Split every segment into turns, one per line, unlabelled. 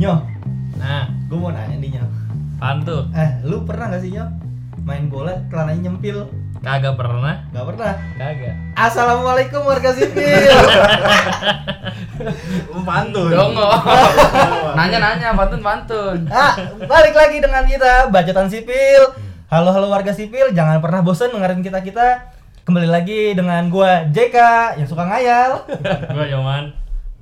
Nyoh,
Nah,
gue mau nanya nih Nyoh
pan tuh
Eh, lu pernah gak sih Nyoh main bola celananya nyempil?
kagak pernah,
Gak pernah
kagak.
Assalamualaikum warga sipil
Pantun.
Dongo. Nanya-nanya pantun-pantun.
Ah, balik lagi dengan kita bacotan sipil. Halo halo warga sipil, jangan pernah bosan dengerin kita kita. Kembali lagi dengan gua JK yang suka ngayal.
Gua Yoman.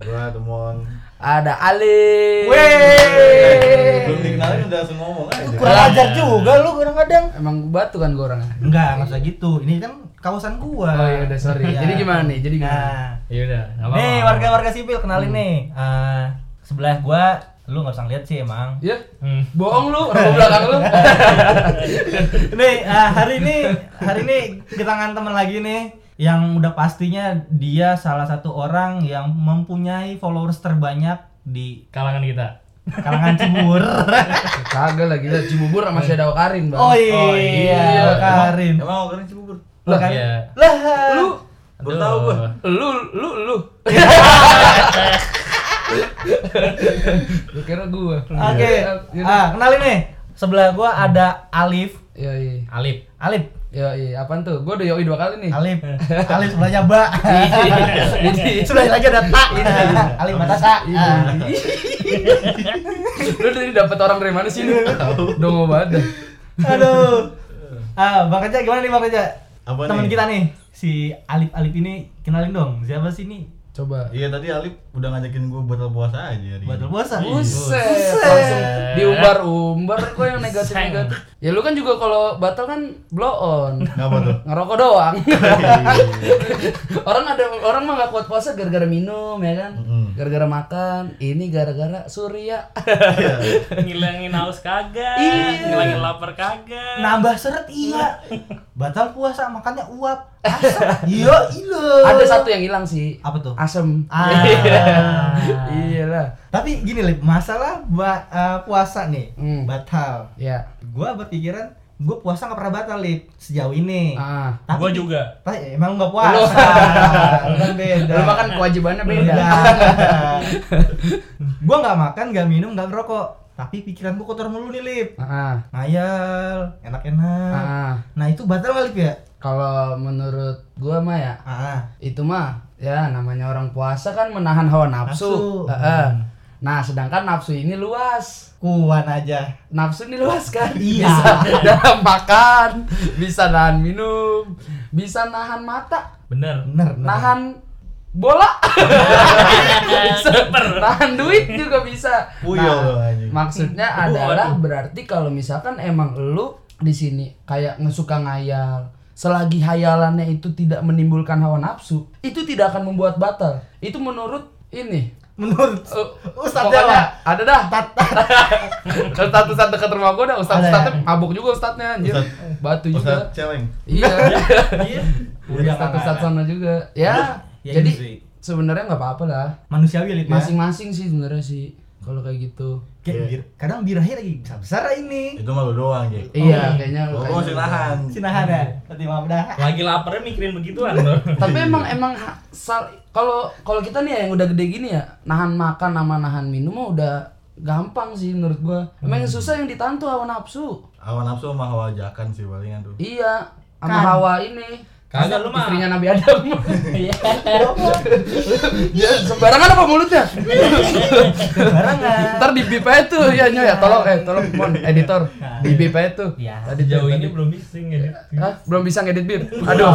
Gua temon.
Ada Ali.
Weh.
Belum dikenalin udah langsung ngomong
Lu
aja.
kurang
Iya.
ajar juga lu kadang-kadang.
Emang gua batu kan gua orangnya.
Enggak, enggak usah gitu. Ini kan kawasan gua.
Oh iya udah sorry.
Iya.
Jadi gimana nih? Jadi gimana?
Nah,
Ya udah, nggak apa-apa.
nih warga-warga sipil kenalin nih. Ah, sebelah gua lu nggak usah lihat sih emang.
Ya,
Hmm.
bohong lu, rokok belakang lu.
nih ah, hari ini hari ini kedatangan teman lagi nih yang udah pastinya dia salah satu orang yang mempunyai followers terbanyak di
Kalangan kita.
kalangan Cibubur.
Kagak lagi lah Cibubur sama si Dao Karin, Bang.
oh
Oh
iya,
iya.
Karin.
Emang mau keren Cibubur?
Lah, Karin.
Iya.
Lah,
Lu
Baru tahu gua.
lu lu lu. lu kira gua.
Oke.
Ya,
Ah, kenalin nih. Sebelah gua ada Alif.
Ya iya.
Alip.
Alif.
Ya iya, apaan tuh? Gua udah yoi dua kali nih.
Alif. Alif sebelahnya Mbak.
Jadi
Sebelahnya lagi ada Ta. Alif Ah. Matasa.
Iya. lu dari dapet orang dari mana sih lu? Dongo banget. dah.
Aduh. Ah, Bang Reja gimana nih Bang Reja?
Apa
Temen
nih?
kita nih, si Alif Alif ini kenalin dong. Siapa sih ini?
Coba.
Iya tadi Alif udah ngajakin gua batal puasa aja hari. ini.
Batal puasa.
Iya.
Buset,
Buset.
langsung diumbar-umbar kok yang negatif-negatif.
Seng.
Ya lu kan juga kalau batal kan blow on.
Ngapa tuh? Iya.
Ngerokok doang. orang ada orang mah gak kuat puasa gara-gara minum ya kan.
Mm-mm.
Gara-gara makan. Ini gara-gara surya.
Iya.
Ngilangin haus kagak,
Iya.
ngilangin lapar kagak.
Nambah seret iya. Batal puasa makannya uap. Asap. Iya, iya.
ada satu yang hilang sih.
apa tuh?
Asem.
Ah.
Iya lah.
Tapi gini, Lip, masalah ba- eh, puasa nih,
Hmm.
batal.
Ya.
Gua berpikiran gua puasa nggak pernah batal, Lip, sejauh ini.
Ah.
Tapi-
Gua juga.
Tapi emang nggak puasa.
Lu.
Kan beda.
Lu makan kewajibannya beda.
Beda. gua nggak makan, nggak minum, nggak ngerokok. Tapi pikiran gua kotor mulu nih, Lip.
Ah.
Ngayal, enak-enak.
Ah.
Nah, itu batal kali, Lip ya?
Kalau menurut gua mah ya,
Ah.
itu mah ya namanya orang puasa kan menahan hawa
Nafsu. Hmm.
nafsu. Heeh. Nah, sedangkan nafsu ini luas.
Kuan aja.
Nafsu ini luas kan?
Iya.
Bisa dalam makan, bisa nahan minum, bisa nahan mata,
Bener.
Bener, bener.
nahan bola, bisa nahan duit juga bisa. Nah,
Puyol lo anjing.
maksudnya adalah berarti kalau misalkan emang lu di sini kayak ngesuka ngayal, selagi hayalannya itu tidak menimbulkan hawa nafsu, itu tidak akan membuat batal. Itu menurut ini
Menurut
Eh,
Ustaz
pokoknya
Jawa.
Ada dah. Ustaz Ustaz dekat rumah gua dah, Ustaz
Ada ya?
Ustaznya mabuk juga Ustaznya anjir.
Ustaz.
Batu
Ustaz
juga.
celeng.
Iya.
Iya.
Udah Ustaz Ustaz sana juga. Ya.
Ya,
jadi
gitu sih.
sebenarnya nggak apa-apa lah.
Manusiawi, Lip ya? Oh.
Masing-masing sih sebenarnya sih kalau kayak gitu.
Kayak
Iya.
bir- kadang birahi lagi besar-besar ini.
Itu mah lu doang, Jek.
Iya, kayaknya
Gua
lu kayaknya
masih
lu.
nahan.
Sinahan ya, tadi maaf dah.
Lagi laparnya mikirin begituan loh.
Tapi emang emang ha- sal- kalau kalau kita nih ya yang udah gede gini ya, nahan makan sama nahan minum mah udah gampang sih menurut gua. Emang yang susah yang ditahan tuh hawa nafsu.
Hawa nafsu sama hawa jakan sih palingan tuh.
Iya, sama
Kan.
hawa ini.
Kagak, lu mah.
Istrinya Nabi Adam. Iya. Dia sembarangan apa mulutnya?
Barangan.
Ntar di bip aja tuh ya Nyo ya tolong eh tolong mon editor di bip aja tuh.
Ya,
Tadi
Sejauh
tadi-
ini belum ya. bisa ngedit.
Hah? belum bisa ngedit bip. Aduh.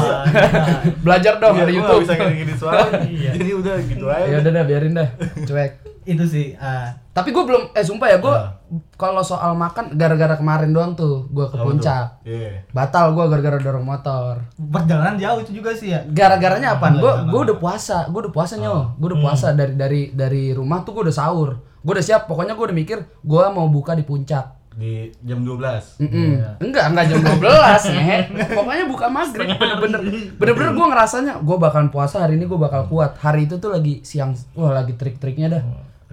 Belajar dong
Iya,
dari
gua nggak
YouTube.
bisa ngiri suara.
Iya.
Jadi udah gitu aja.
Ya udah dah biarin dah. Cuek.
Itu sih ah,
Tapi gue belum, eh sumpah ya gue
Nah.
kalau soal makan gara-gara kemarin doang tuh gue
Apa
ke
tuh?
puncak.
Iya.
Batal gue gara-gara dorong motor.
perjalanan jauh itu juga sih ya.
Gara-garanya apa? Gue gue udah puasa, gue udah puasa nyo, gue udah puasa dari dari dari rumah tuh gue udah sahur, gue udah siap. Pokoknya gue udah mikir gue mau buka di puncak.
Di jam 12.
Mm-mm. Enggak, enggak jam 12 Nyeh. Pokoknya buka maghrib bener-bener Bener-bener gue ngerasanya Gue bakal puasa hari ini gue bakal kuat Hari itu tuh lagi siang Wah lagi trik-triknya dah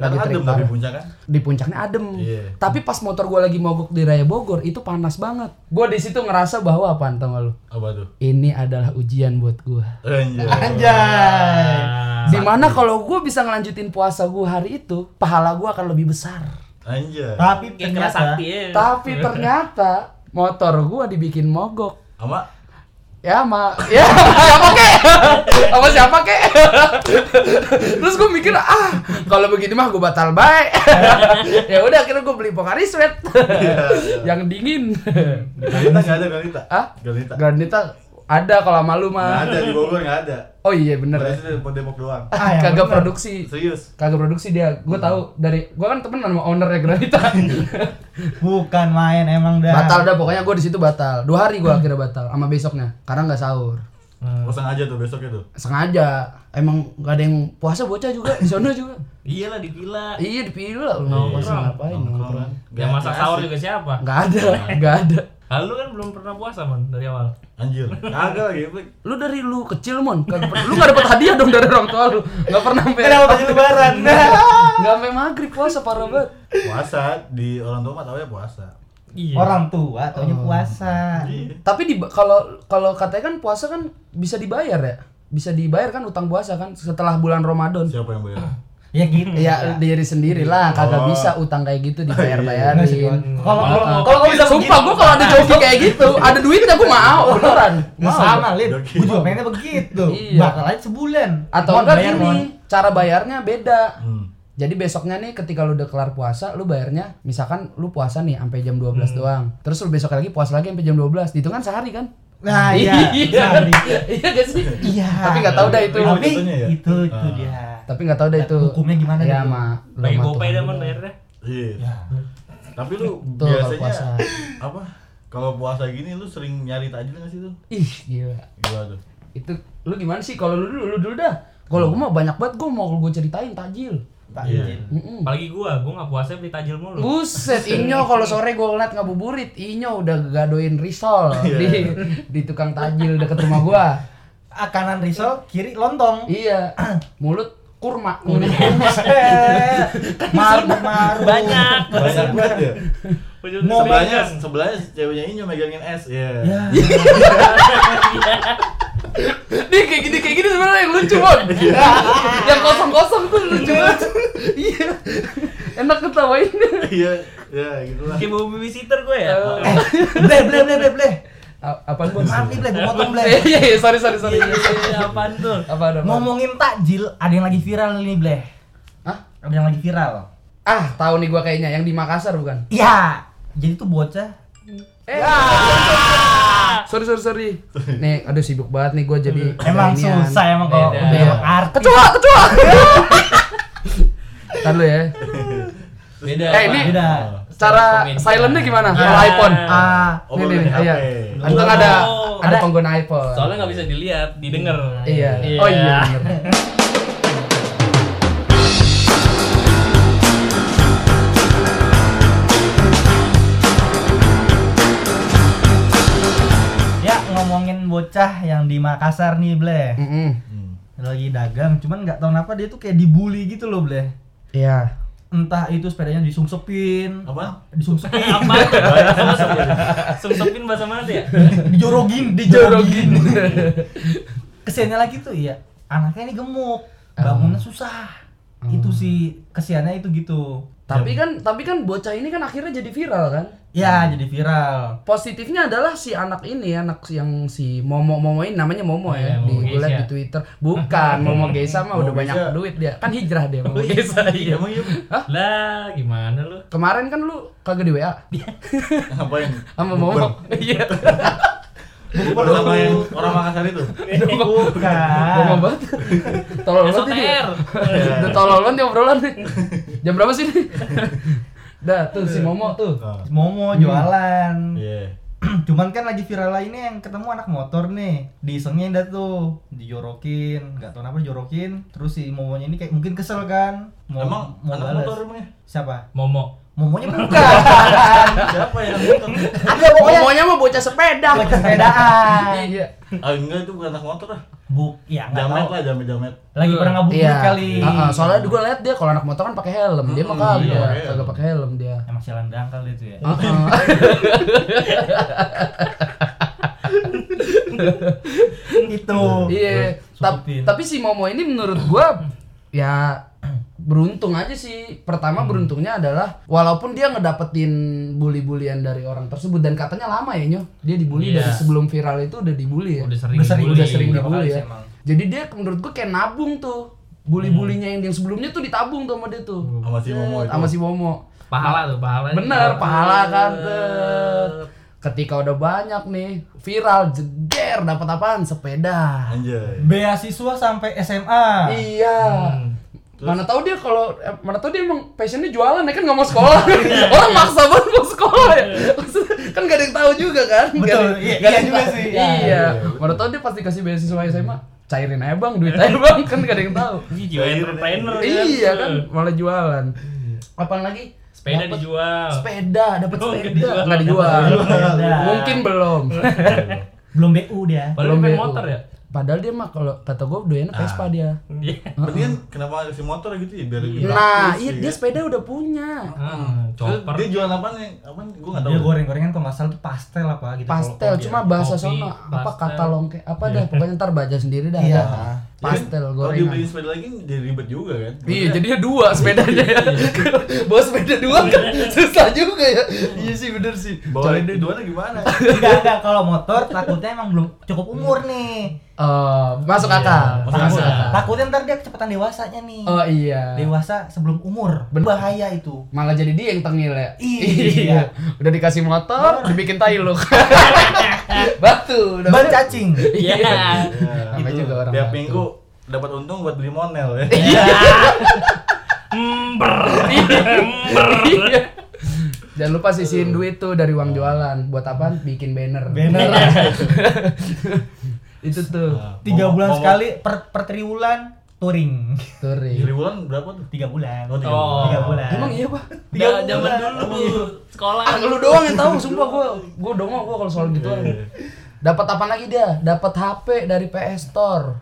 Lagi
Lagi Hmm. adem
trik
tapi
banget
puncak kan?
di puncaknya adem.
Iya.
Tapi pas motor gua lagi mogok di Raya Bogor itu panas banget. Gua di situ ngerasa bahwa apa tau nggak lu?
Apa tuh? Eh, iya.
Ini adalah ujian buat gua.
Anjay.
Kan
Anjay.
Nah,
Dimana kalau gua bisa ngelanjutin puasa gua hari itu, pahala gua akan lebih besar.
Anjay.
Tapi
Kayak kena
ternyata
sakti ya.
Tapi ternyata motor gua dibikin mogok.
Sama
Ya sama ya apa kek? Sama siapa kek? Terus gua mikir ah kalau begini mah gua batal baik. ya udah akhirnya gua beli Pocari Sweat
Iya,
yang dingin.
Galita nggak ada Galita.
Hah?
Galita.
Granita ada kalau malu
Nggak
mah.
ada di Bogor nggak ada.
Oh iya bener. ya.
Berarti itu di Depok doang.
Ah, ya,
Kagak
bener.
produksi.
Serius.
Kagak produksi dia. Gua tahu dari gua kan temen sama ownernya Granita.
bukan main emang dah.
batal dah pokoknya gua di situ batal. Dua hari gua akhirnya batal sama besoknya karena nggak sahur.
Hmm.
Lo sengaja tuh besoknya tuh.
sengaja emang gak ada yang puasa bocah juga di sana juga
Iya lah di villa.
iya dipilih lah lu mau puasa ngapain nongkrong
Yang masak sahur juga siapa?
nggak ada nggak ada
Lalu kan belum pernah puasa man dari awal.
Anjir. Kagak lagi. Plik.
lu dari lu kecil mon kagak pernah- lu gak dapet hadiah dong dari orang tua lu nggak pernah sampai
Kenapa pas lebaran?
nggak sampai maghrib puasa parah banget
Puasa di orang tua mah taunya puasa.
Iya.
Orang tua taunya
Oh.
puasa.
Iya.
tapi di kalau kalau katanya kan puasa kan bisa dibayar ya bisa dibayar kan utang puasa kan setelah bulan Ramadan
Siapa yang bayar?
Ya gitu.
ya diri sendiri lah
Oh.
kagak bisa utang kayak gitu
Nggak sih,
dibayar-bayarin
Iya.
Kalau kalau
Kalau
kalau
gua bisa sumpah gua kalau ada joki kayak gitu, ada duitnya gua mau beneran.
Nggak sama, Lin.
Udah
Gue juga
gila.
pengennya begitu.
Iya.
Bakal aja sebulan.
Atau
Mon,
enggak
bayar, Mon.
gini, cara bayarnya beda.
Hmm.
Jadi besoknya nih ketika lu udah kelar puasa, lu bayarnya misalkan lu puasa nih sampai jam 12 doang. Terus lu besok lagi puasa lagi sampai jam 12. Itu kan sehari kan?
Nah, iya.
iya.
Nah, di-
Iya gak sih?
Iya.
Tapi nggak tahu dah itu.
Tapi
Jatuhnya ya?
itu itu
Ah.
dia.
Tapi nggak tahu deh itu.
Hukumnya gimana
ya,
dulu?
Ma.
Pakai gopay dah man
mana
bayarnya.
Iya.
Ya.
Tapi lu
Tuh, kalau
biasanya
puasa.
apa? Kalau puasa gini lu sering nyari tajil nggak sih tuh?
Ih, gila.
Gila tuh.
Itu lu gimana sih kalau lu dulu lu dulu dah? Kalau gua mah banyak banget gua mau gua ceritain tajil.
Tak
Iya.
izin.
Mm-mm.
Apalagi gua, gua nggak puasa beli tajil mulu.
Buset, Inyo kalau sore gue ngeliat ngabuburit, Inyo udah gadoin risol di, di tukang tajil deket rumah gua.
Ah, kanan risol, kiri lontong.
Iya, mulut kurma.
Maru maru.
Banyak.
Banyak banget ya.
Wujudnya
Sebelahnya
sebanyak.
sebelahnya ceweknya Inyo megangin es.
Ya.
Iya.
Ini kayak gini kayak gini sebenarnya yang lucu mon. yang kosong kosong tuh lucu banget. Iya, enak ketawain.
Iya. Ya, gitu lah.
Kayak bawa babysitter gue ya.
Eh.
Bleh bleh bleh bleh bleh.
Apa
Maaf nih bleh, gua potong bleh.
Iya iya iya, sorry sorry sorry.
Iya, iya, apaan tuh?
Apa ada? Mon?
Ngomongin takjil, ada yang lagi viral nih bleh.
Hah?
Ada yang lagi viral.
Ah, tahu nih gua kayaknya yang di Makassar bukan?
Ya, jadi tuh bocah
Eh. Sorry sorry sorry. Nih, aduh sibuk banget nih gue jadi.
Emang
keberanian.
susah emang kalau
Beda.
udah emang artis.
Kecoa kecoa. Ntar lu ya.
Beda.
Eh, ini-
Beda.
Cara
Komedi.
silentnya gimana?
Ya.
Kalau iPhone.
Ah,
Ah,
Oh,
Nih,
belum
nih,
dari
nih, iya.
HP.
Untung ada
Oh.
ada
Ada.
pengguna iPhone.
Soalnya nggak bisa dilihat, didengar.
Iya. Oh iya. bener.
ya ngomongin bocah yang di Makassar nih, Bleh.
Mm-mm.
Hmm.
Lagi dagang, cuman nggak tahu kenapa dia tuh kayak dibully gitu loh, Bleh.
Iya.
Entah itu sepedanya disungsepin,
Apa?
disungsepin,
Apa? Sungsepin bahasa mana tuh ya?
dijorogin,
Jorogin.
gitu.
Kesiannya lagi tuh iya, anaknya ini gemuk,
Ah.
bangunnya susah.
Hmm.
Itu sih kesiannya itu gitu.
tapi
Iya.
kan tapi kan bocah ini kan akhirnya jadi viral kan?
Ya,
Hmm.
jadi viral.
Positifnya adalah si anak ini anak yang si Momo Momo ini namanya Momo ya
Iya,
di
Momo
gue liat
Geisha.
di Twitter. Bukan Momo Gesa mah udah
Momo
banyak
Geisha.
duit dia. Kan hijrah dia Momo Gesa. Iya.
Emang iya.
Lah, gimana lu?
Kemarin kan lu kagak di WA
Ngapain?
sama Momo. Iya.
Buku pertama yang orang Makassar itu.
Ah.
Momo
Bukan.
banget. Tolol banget ini.
SOTR.
Udah
Iya.
tolol banget nih obrolan nih. Jam berapa sih ini? Dah tuh si Momo tuh.
Ah,
Momo jualan.
Iya.
Cuman kan lagi viral lainnya yang ketemu anak motor nih Disengin dah tuh Dijorokin Gak tau kenapa dijorokin Terus si momonya ini kayak mungkin kesel kan Mau-
Emang
mau balas.
anak motor emangnya?
Siapa?
Momo.
Momonya bukan
Siapa yang anak motor?
Ada pokoknya
Momonya mah bocah sepeda.
Bocah sepedaan.
Iya.
Ah enggak itu bukan anak motor lah.
Buk Ya gak
Jamet
tau
lah, jamet-jamet.
Lagi pernah ngabuk
Iya.
kali
Ah, ah, soalnya gue liat dia kalau anak motor kan pakai helm, dia mah
Mm, iya,
kagak,
iya.
kagak pakai helm dia.
Emang sialan dangkal itu ya
Ah, ah.
Itu
Iya. Tap-
Sutupin.
gitu. Iya. tapi si Momo ini menurut gua ya beruntung aja sih. Pertama beruntungnya adalah walaupun dia ngedapetin bully-bulian dari orang tersebut dan katanya lama ya nyo, dia dibully
Iya.
dari sebelum viral itu udah dibully ya.
Udah sering
Udah sering,
dibully.
udah sering
berapa
dibully
kali
ya.
sih emang.
Jadi dia menurut gue kayak nabung tuh. Bully-bulinya yang yang sebelumnya tuh ditabung tuh sama dia tuh.
Hmm.
Sama si Momo itu.
Sama si Momo.
Pahala tuh, Iya. pahala.
Bener, pahala kan. tet. Ketika udah banyak nih viral jeder dapat apaan? Sepeda.
Anjay.
Beasiswa sampai SMA.
Iya.
Hmm.
Mana tahu dia kalau eh, mana tahu dia emang passionnya jualan ya kan nggak mau sekolah. Orang maksa banget mau sekolah ya. Maksudnya, kan gak ada yang tahu juga kan. Nggak
Iya. Betul,
ada-
iya-
nggak
iya
ada yang
juga
tahu.
sih.
Iya.
Iya,
Mana tahu dia pasti kasih beasiswa SMA. Cairin aja bang, duit aja bang kan gak ada yang tahu.
Ini jiwa entrepreneur kan.
iya kan, malah jualan. Apaan lagi?
Sepeda
Iya. Dapet
dijual.
Sepeda, dapat
Oh, nggak
sepeda.
dijual.
Nggak dijual.
Sepeda.
Mungkin belum.
Belum BU dia.
Padahal dia
Belum
pengen
BU.
motor ya.
Padahal dia mah kalau kata gue doyan Vespa dia.
Iya.
Mendingan kenapa si motor gitu ya biar lebih
Nah,
praktis
iya
ya.
dia sepeda udah punya.
Ah,
Terus
Chopper.
Dia jualan apa nih? Apa Gua enggak
Iya,
tahu.
Dia goreng-gorengan kalau nggak salah tuh pastel apa gitu.
pastel
kalau- kalau
cuma
dia.
bahasa
kopi,
sono apa
pastel.
kata longke apa dah pokoknya ntar baca sendiri dah
Iya.
ada pastel
Jadi, Kalau
gorengan
dibeliin sepeda lagi jadi ribet juga kan.
iya jadinya dua sepedanya ya bawa sepeda dua kan susah juga ya iya sih bener sih
Bawa
Kecuali dia-
duanya gimana?
Iya.
Enggak, enggak. Kalau motor takutnya emang belum cukup umur nih.
Eh, masuk akal
masuk
masuk
akal.
akal
Takutnya ntar dia kecepatan dewasanya nih.
oh iya
Dewasa sebelum umur.
Bener.
Bahaya itu.
malah jadi dia yang tengil ya
Iya.
udah dikasih motor dibikin tai lu batu udah
Ban cacing.
iya
Iya.
Namanya
Itu
juga orang
tiap
batu.
minggu dapat untung buat beli monel ya.
Ember.
Iya. Jangan lupa sisihin duit tuh dari uang jualan. Buat apa? Bikin banner.
Banner. Ah.
Itu tuh.
Nah,
Tiga
Momo-
bulan
Momo-
sekali per, per triwulan touring.
Touring.
Jadi bulan berapa tuh?
Tiga bulan.
Oh, tiga
Oh.
Tiga bulan.
Emang iya, Pak?
Tiga
Udah zaman
bulan. Oh,
dulu sekolah.
Ah, lu doang yang tahu, sumpah gua gua dongok gua kalau soal gitu. Dapat apa lagi dia? Dapat HP dari PS Store.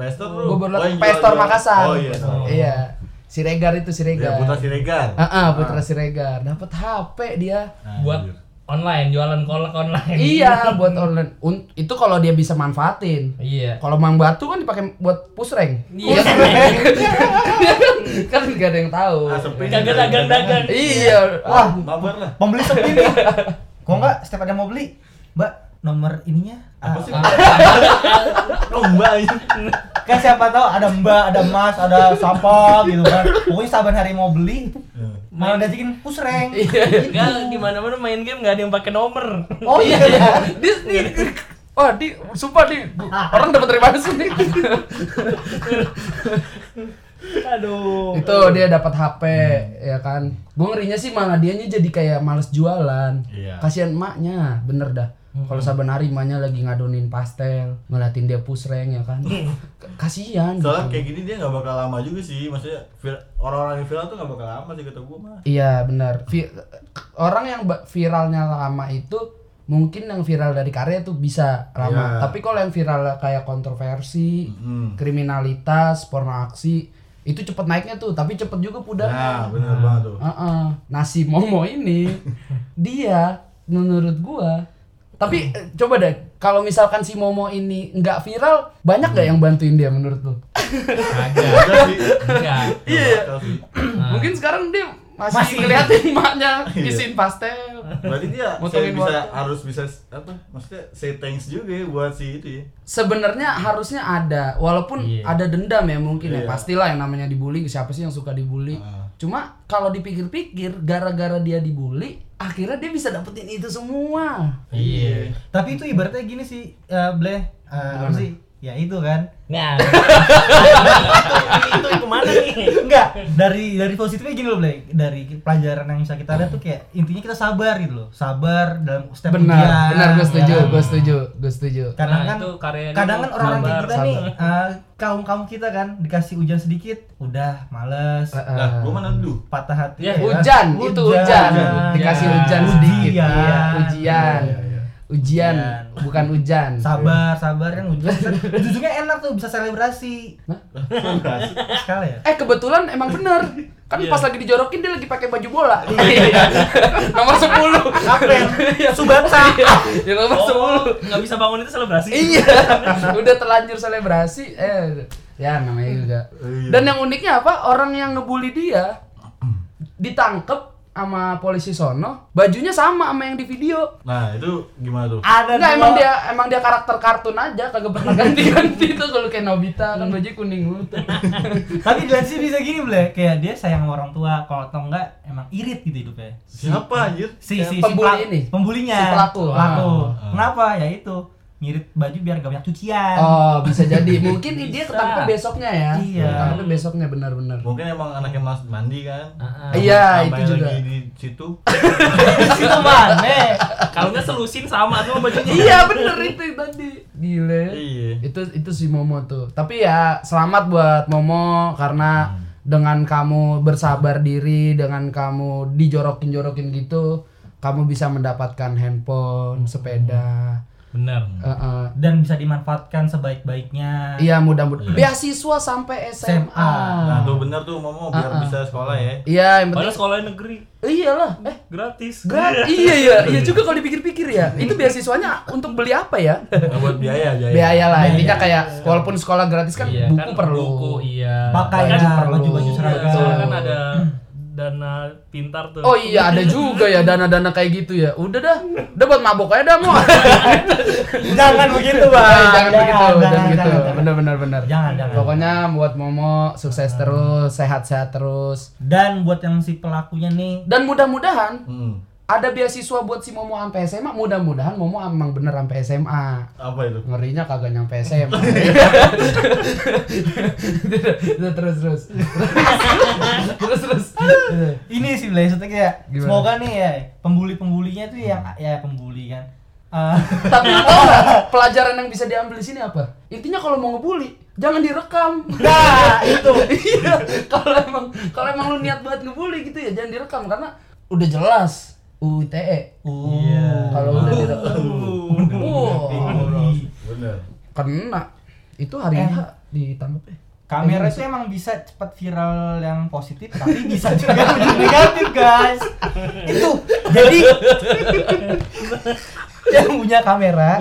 Pestor lu.
Gua baru
Oh,
lihat
yang
PS Store
jual-jual.
Makassar.
Oh iya. tahu.
Iya. Siregar itu
Iya,
Siregar.
Putra Siregar.
Ah, ah, Putra Siregar. Dapat HP dia.
Nah,
Buat
anjir.
online, jualan kolak online.
iya, buat online. Un- itu kalau dia bisa manfaatin.
Iya.
Kalau Mang Batu kan dipakai buat pusreng.
Iya.
kan gak ada yang tahu.
Ah, sepi.
Kagak dagang-dagang.
Iya.
Wah,
Mabar lah.
pembeli sepi nih. Kok enggak setiap ada mau beli, Mbak, nomor ininya
Apa
ah,
sih?
ah.
Oh, Mbak. ini.
kan siapa tahu ada mbak ada mas ada siapa gitu kan pokoknya saban hari mau beli
Hmm.
malah diajakin pusreng
Iya,
Enggak, gimana mana main game nggak ada yang pakai nomor.
Oh iya. iya. Dia dia- Wah, di sumpah di orang dapat dari mana sih?
aduh
itu dia dapat HP
Hmm.
ya kan. Gue ngerinya sih malah dianya jadi kayak males jualan.
Iya. Hmm.
Kasihan maknya, bener dah. Kalau saban hari emaknya lagi ngadonin pastel, ngeliatin dia pusreng ya kan. K- Kasihan.
Hmm. Soalnya
gitu.
kayak gini dia nggak bakal lama juga sih, maksudnya vir- orang-orang yang viral tuh nggak bakal lama sih kata gua mah.
Iya benar. Vi- orang yang ba- viralnya lama itu mungkin yang viral dari karya tuh bisa lama.
Iya.
Tapi kalau yang viral kayak kontroversi,
Mm.
kriminalitas, porno aksi itu cepet naiknya tuh. Tapi cepet
Nah,
juga pudar.
bener banget tuh.
Ah. Nasi Momo ini dia menurut gua. Tapi
Mm.
eh, coba deh kalau misalkan si Momo ini nggak viral, banyak nggak
Mm.
yang bantuin dia menurut lu?
Kagak.
Ada sih.
Enggak.
Iya.
Nggak bakal sih.
Mungkin sekarang dia masih,
Masih.
ngeliatin maknya
Nah. Iya.
isiin pastel.
Berarti dia saya
Motongin
bisa
waktu.
harus bisa apa? Maksudnya say thanks juga ya buat si itu ya.
sebenarnya harusnya ada walaupun
Iya.
ada dendam ya mungkin ya
Iya.
pastilah yang namanya dibully siapa sih yang suka dibully
Ah.
cuma kalau dipikir-pikir gara-gara dia dibully akhirnya dia bisa dapetin itu semua
Iya.
tapi itu ibaratnya gini sih eh bleh Eh, apa sih ya itu kan
Nah. Itu kemana nih?
enggak dari dari positifnya gini loh bleh dari pelajaran yang bisa kita lihat tuh kayak intinya kita sabar gitu loh sabar dalam setiap
benar benar gue setuju
ya kan?
gue setuju gue setuju
kadang
Nah,
kan
itu karya dia
kadang kan
tuh
orang-orang kayak
sabar,
kita nih kaum kaum kita kan dikasih hujan sedikit udah males
Eh, eh.
Nah, gua mana dulu?
patah hati ya.
Ya,
hujan, itu hujan dikasih
Hujan.
hujan sedikit
Iya, Ujian.
Iya, ujian
Iya, iya, iya.
ujian
Ujian.
bukan hujan
sabar sabar kan hujan ujungnya enak tuh bisa selebrasi sekali ya
eh kebetulan emang bener kan
Iya.
pas lagi dijorokin dia lagi pakai baju bola nomor 10
Kapten Subasa
ya nomor 10
Iya.
Oh, nggak bisa bangun itu selebrasi.
iya udah terlanjur selebrasi eh Ya namanya juga.
Iya.
Dan yang uniknya apa? Orang yang ngebully dia ditangkep sama polisi sono, bajunya sama sama yang di video.
Nah itu gimana tuh?
Ada
Enggak
dua-
emang dia emang dia karakter kartun aja kagak pernah ganti-ganti tuh kalau kayak Nobita
Iya.
kan baju kuning mulu. tuh.
Tapi Glancy bisa gini, Ble. Kayak dia sayang sama orang tua, kalau atau enggak emang irit gitu hidupnya.
Siapa anjir?
Si si si
Pembuli
pelak-
ini?
Pembulinya.
Si pelaku.
Ah.
Kenapa? Ya itu. Ngirit baju biar gak banyak cucian.
Oh, bisa jadi. Mungkin dia
Bisa.
ketangkep besoknya ya.
Iya.
Ketangkep besoknya benar-benar.
Mungkin emang anaknya mas mandi kan?
Ah, ah.
Sampai
Iya, itu juga.
Lagi di situ.
Itu mana?
Kalau nggak selusin sama semua bajunya.
Iya, bener itu tadi. Gile.
Iya.
Eh, Itu itu si Momo tuh. Tapi ya selamat buat Momo karena dengan kamu bersabar diri, dengan kamu dijorokin-jorokin gitu, kamu bisa mendapatkan handphone, sepeda.
Benar.
Eh, eh.
Dan bisa dimanfaatkan sebaik-baiknya.
Iya, mudah-mudahan beasiswa sampai SMA.
Nah tuh bener tuh Momo biar bisa sekolah ya.
Ah, Iya, yang
Padahal
penting
sekolah negeri
iyalah. Eh,
gratis.
Gratis. iya ya, iya juga kalau dipikir-pikir ya. Itu beasiswanya untuk beli apa ya?
Nah, buat biaya aja.
Biaya lah intinya kayak walaupun sekolah gratis kan
Iya,
buku
kan
perlu.
Buku, iya.
Pakaian,
Kan-
perlu.
baju-baju
Iya,
seragam.
Soalnya kan ada dana pintar tuh.
Oh iya ada juga ya dana-dana kayak gitu ya. Udah dah, udah buat mabok aja dah mau.
jangan begitu, Bang.
jangan begitu, jangan gitu.
jangan.
Benar-benar benar.
Jangan, jangan.
Pokoknya buat Momo sukses terus, sehat-sehat terus.
Dan buat yang si pelakunya nih,
Dan mudah-mudahan
Hmm.
ada beasiswa buat si Momo sampai SMA. Mudah-mudahan Momo emang bener sampai SMA.
Apa itu?
ngerinya kagak nyampe SMA terus terus terus terus terus
ini sih Ble, maksudnya kayak
Eh. Gimana? Hmm.
semoga nih ya pembuli-pembulinya tuh yang ya pembuli kan. Ah,
tapi lu tau nggak, pelajaran yang bisa diambil di sini apa intinya kalau mau ngebully jangan direkam
nah, itu.
iya kalau emang kalau emang lu niat banget ngebully gitu ya jangan direkam karena udah jelas UU ITE Iya. kalau
Uh.
udah direkam wow,
Bener.
kena itu hari
Eh.
H ditangkap ya
Kamera itu emang bisa cepat viral yang positif, tapi bisa juga ujung negatif, guys. Itu. Jadi yang punya kamera,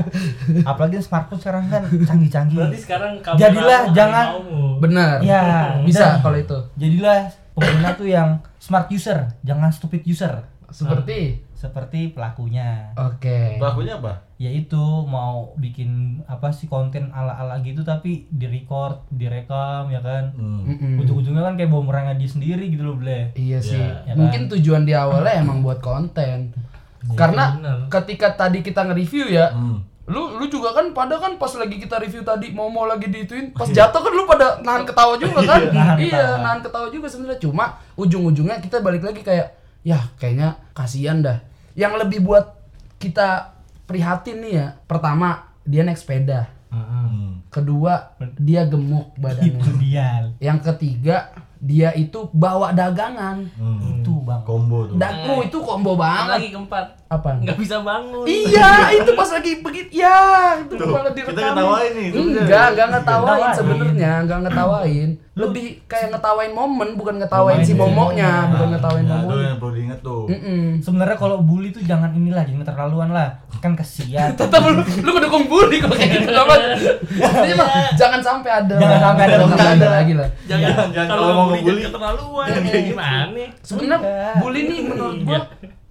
apalagi smartphone sekarang kan
Berarti
canggih-canggih.
sekarang kamu
Jadilah,
mau,
jangan.
harimaumu.
Iya, benar
Ya,
bisa
dan
kalau itu
Jadilah pengguna tuh yang smart user, jangan stupid user
seperti
seperti pelakunya.
oke
Pelakunya apa?
yaitu mau bikin apa sih konten ala-ala gitu tapi direcord, direkam ya kan.
Hmm.
Mm-mm.
Ujung-ujungnya kan kayak bumerangnya dia sendiri gitu loh, Ble.
Iya sih.
Ya kan?
Mungkin tujuan di awalnya emang buat konten.
Iya,
Karena
benar.
ketika tadi kita nge-review ya,
Hmm.
lu lu juga kan pada kan pas lagi kita review tadi mau mau lagi diituin, pas jatuh kan lu pada nahan ketawa juga kan?
Iya, nahan
iya,
ketawa.
nahan ketawa juga sebenarnya. Cuma ujung-ujungnya kita balik lagi kayak ya kayaknya kasihan dah. Yang lebih buat kita prihatin nih ya. Pertama, dia naik sepeda.
Hmm.
Kedua, dia gemuk
Itu
badannya.
dia.
Yang ketiga, dia itu bawa dagangan.
Oh.
Hmm.
Itu, Bang.
Combo
Hmm.
tuh.
Daku itu combo banget.
lagi keempat.
Apa?
Nggak bisa bangun.
Iya, itu pas lagi begitu. Ya, itu
Tuh,
banget
kita
direkam.
ketawain nih, sebenarnya.
Enggak, enggak ngetawain
Ngetawain.
sebenarnya, enggak ngetawain. Lebih kayak ngetawain momen bukan ngetawain si momonya, bukan ngetawain
Nah, itu
momonya.
yang perlu diinget tuh.
Mm-mm.
Sebenarnya kalau bully tuh jangan inilah, jangan terlaluan lah. Kan kesian.
Tetap lu, lu kedukung bully kok kayak gitu kan. Jadi mah jangan sampai ada.
Iya. Jangan sampai ada,
Jangan
jangan
ada
ada.
lagi lah.
Jangan,
Jangan,
kalau
kalau
mau
mau
ngebully
ngebully.
jangan keterlaluan. Gimana?
Sebenarnya bully nih menurut gua
Iya.